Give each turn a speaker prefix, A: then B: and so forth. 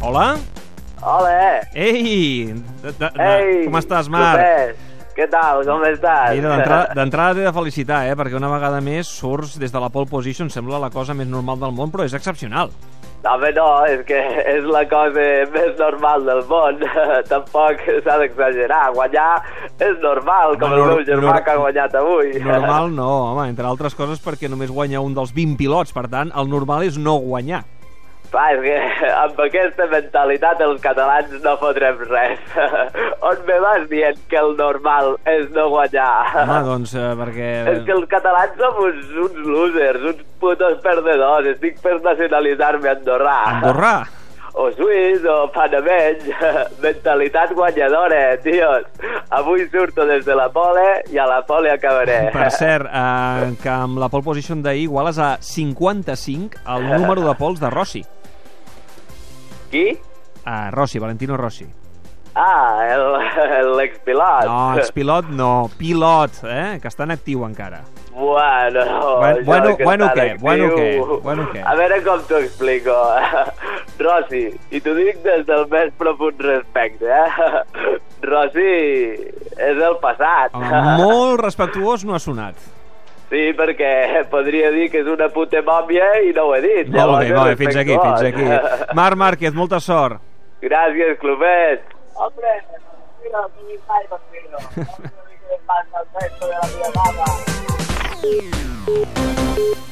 A: Hola?
B: Hola,
A: Ei! De, de, de,
B: Ei,
A: com estàs, Marc?
B: Lopet, Què tal? Com estàs?
A: Mira, d'entrada- d'entrada t'he de felicitar, eh? Perquè una vegada més surts des de la pole position, sembla la cosa més normal del món, però és excepcional.
B: Home, no, és que és la cosa més normal del món. Tampoc s'ha d'exagerar. Guanyar és normal, com
A: Home,
B: el
A: nor-
B: meu germà
A: nor-
B: que ha guanyat avui.
A: Normal no, home, entre altres coses perquè només guanya un dels 20 pilots, per tant, el normal és no guanyar.
B: Clar, és que amb aquesta mentalitat els catalans no fotrem res. On me vas dient que el normal és no guanyar?
A: Home, doncs, eh, perquè...
B: Ah. És que els catalans som uns, uns losers, uns putos perdedors. Estic per nacionalitzar-me andorrà.
A: Andorrà!
B: o suís o panameny, mentalitat guanyadora, tios. Avui surto des de la pole i a la pole acabaré.
A: Per cert, eh, que amb la pole position d'ahir iguales a 55 el número de pols de Rossi.
B: Qui?
A: A Rossi, Valentino Rossi.
B: Ah, el- l'expilot.
A: No, expilot no, pilot, eh? Que està en actiu encara.
B: Bueno,
A: Bueno,
B: jo
A: bueno,
B: que
A: bueno
B: tant
A: què,
B: actiu.
A: bueno què, bueno què.
B: A veure com t'ho explico. Rossi, i t'ho dic des del més profund respecte, eh? Rossi és el passat.
A: Home, molt respectuós no ha sonat.
B: Sí, perquè podria dir que és una puta mòbia i no ho he dit.
A: Molt bé,
B: Llavors,
A: molt bé, fins aquí, fins
B: respectuós.
A: aquí. Marc Márquez, molta sort.
B: Gràcies, Clubet. Hombre, mira,
C: Pasa el resto de la vida, nada.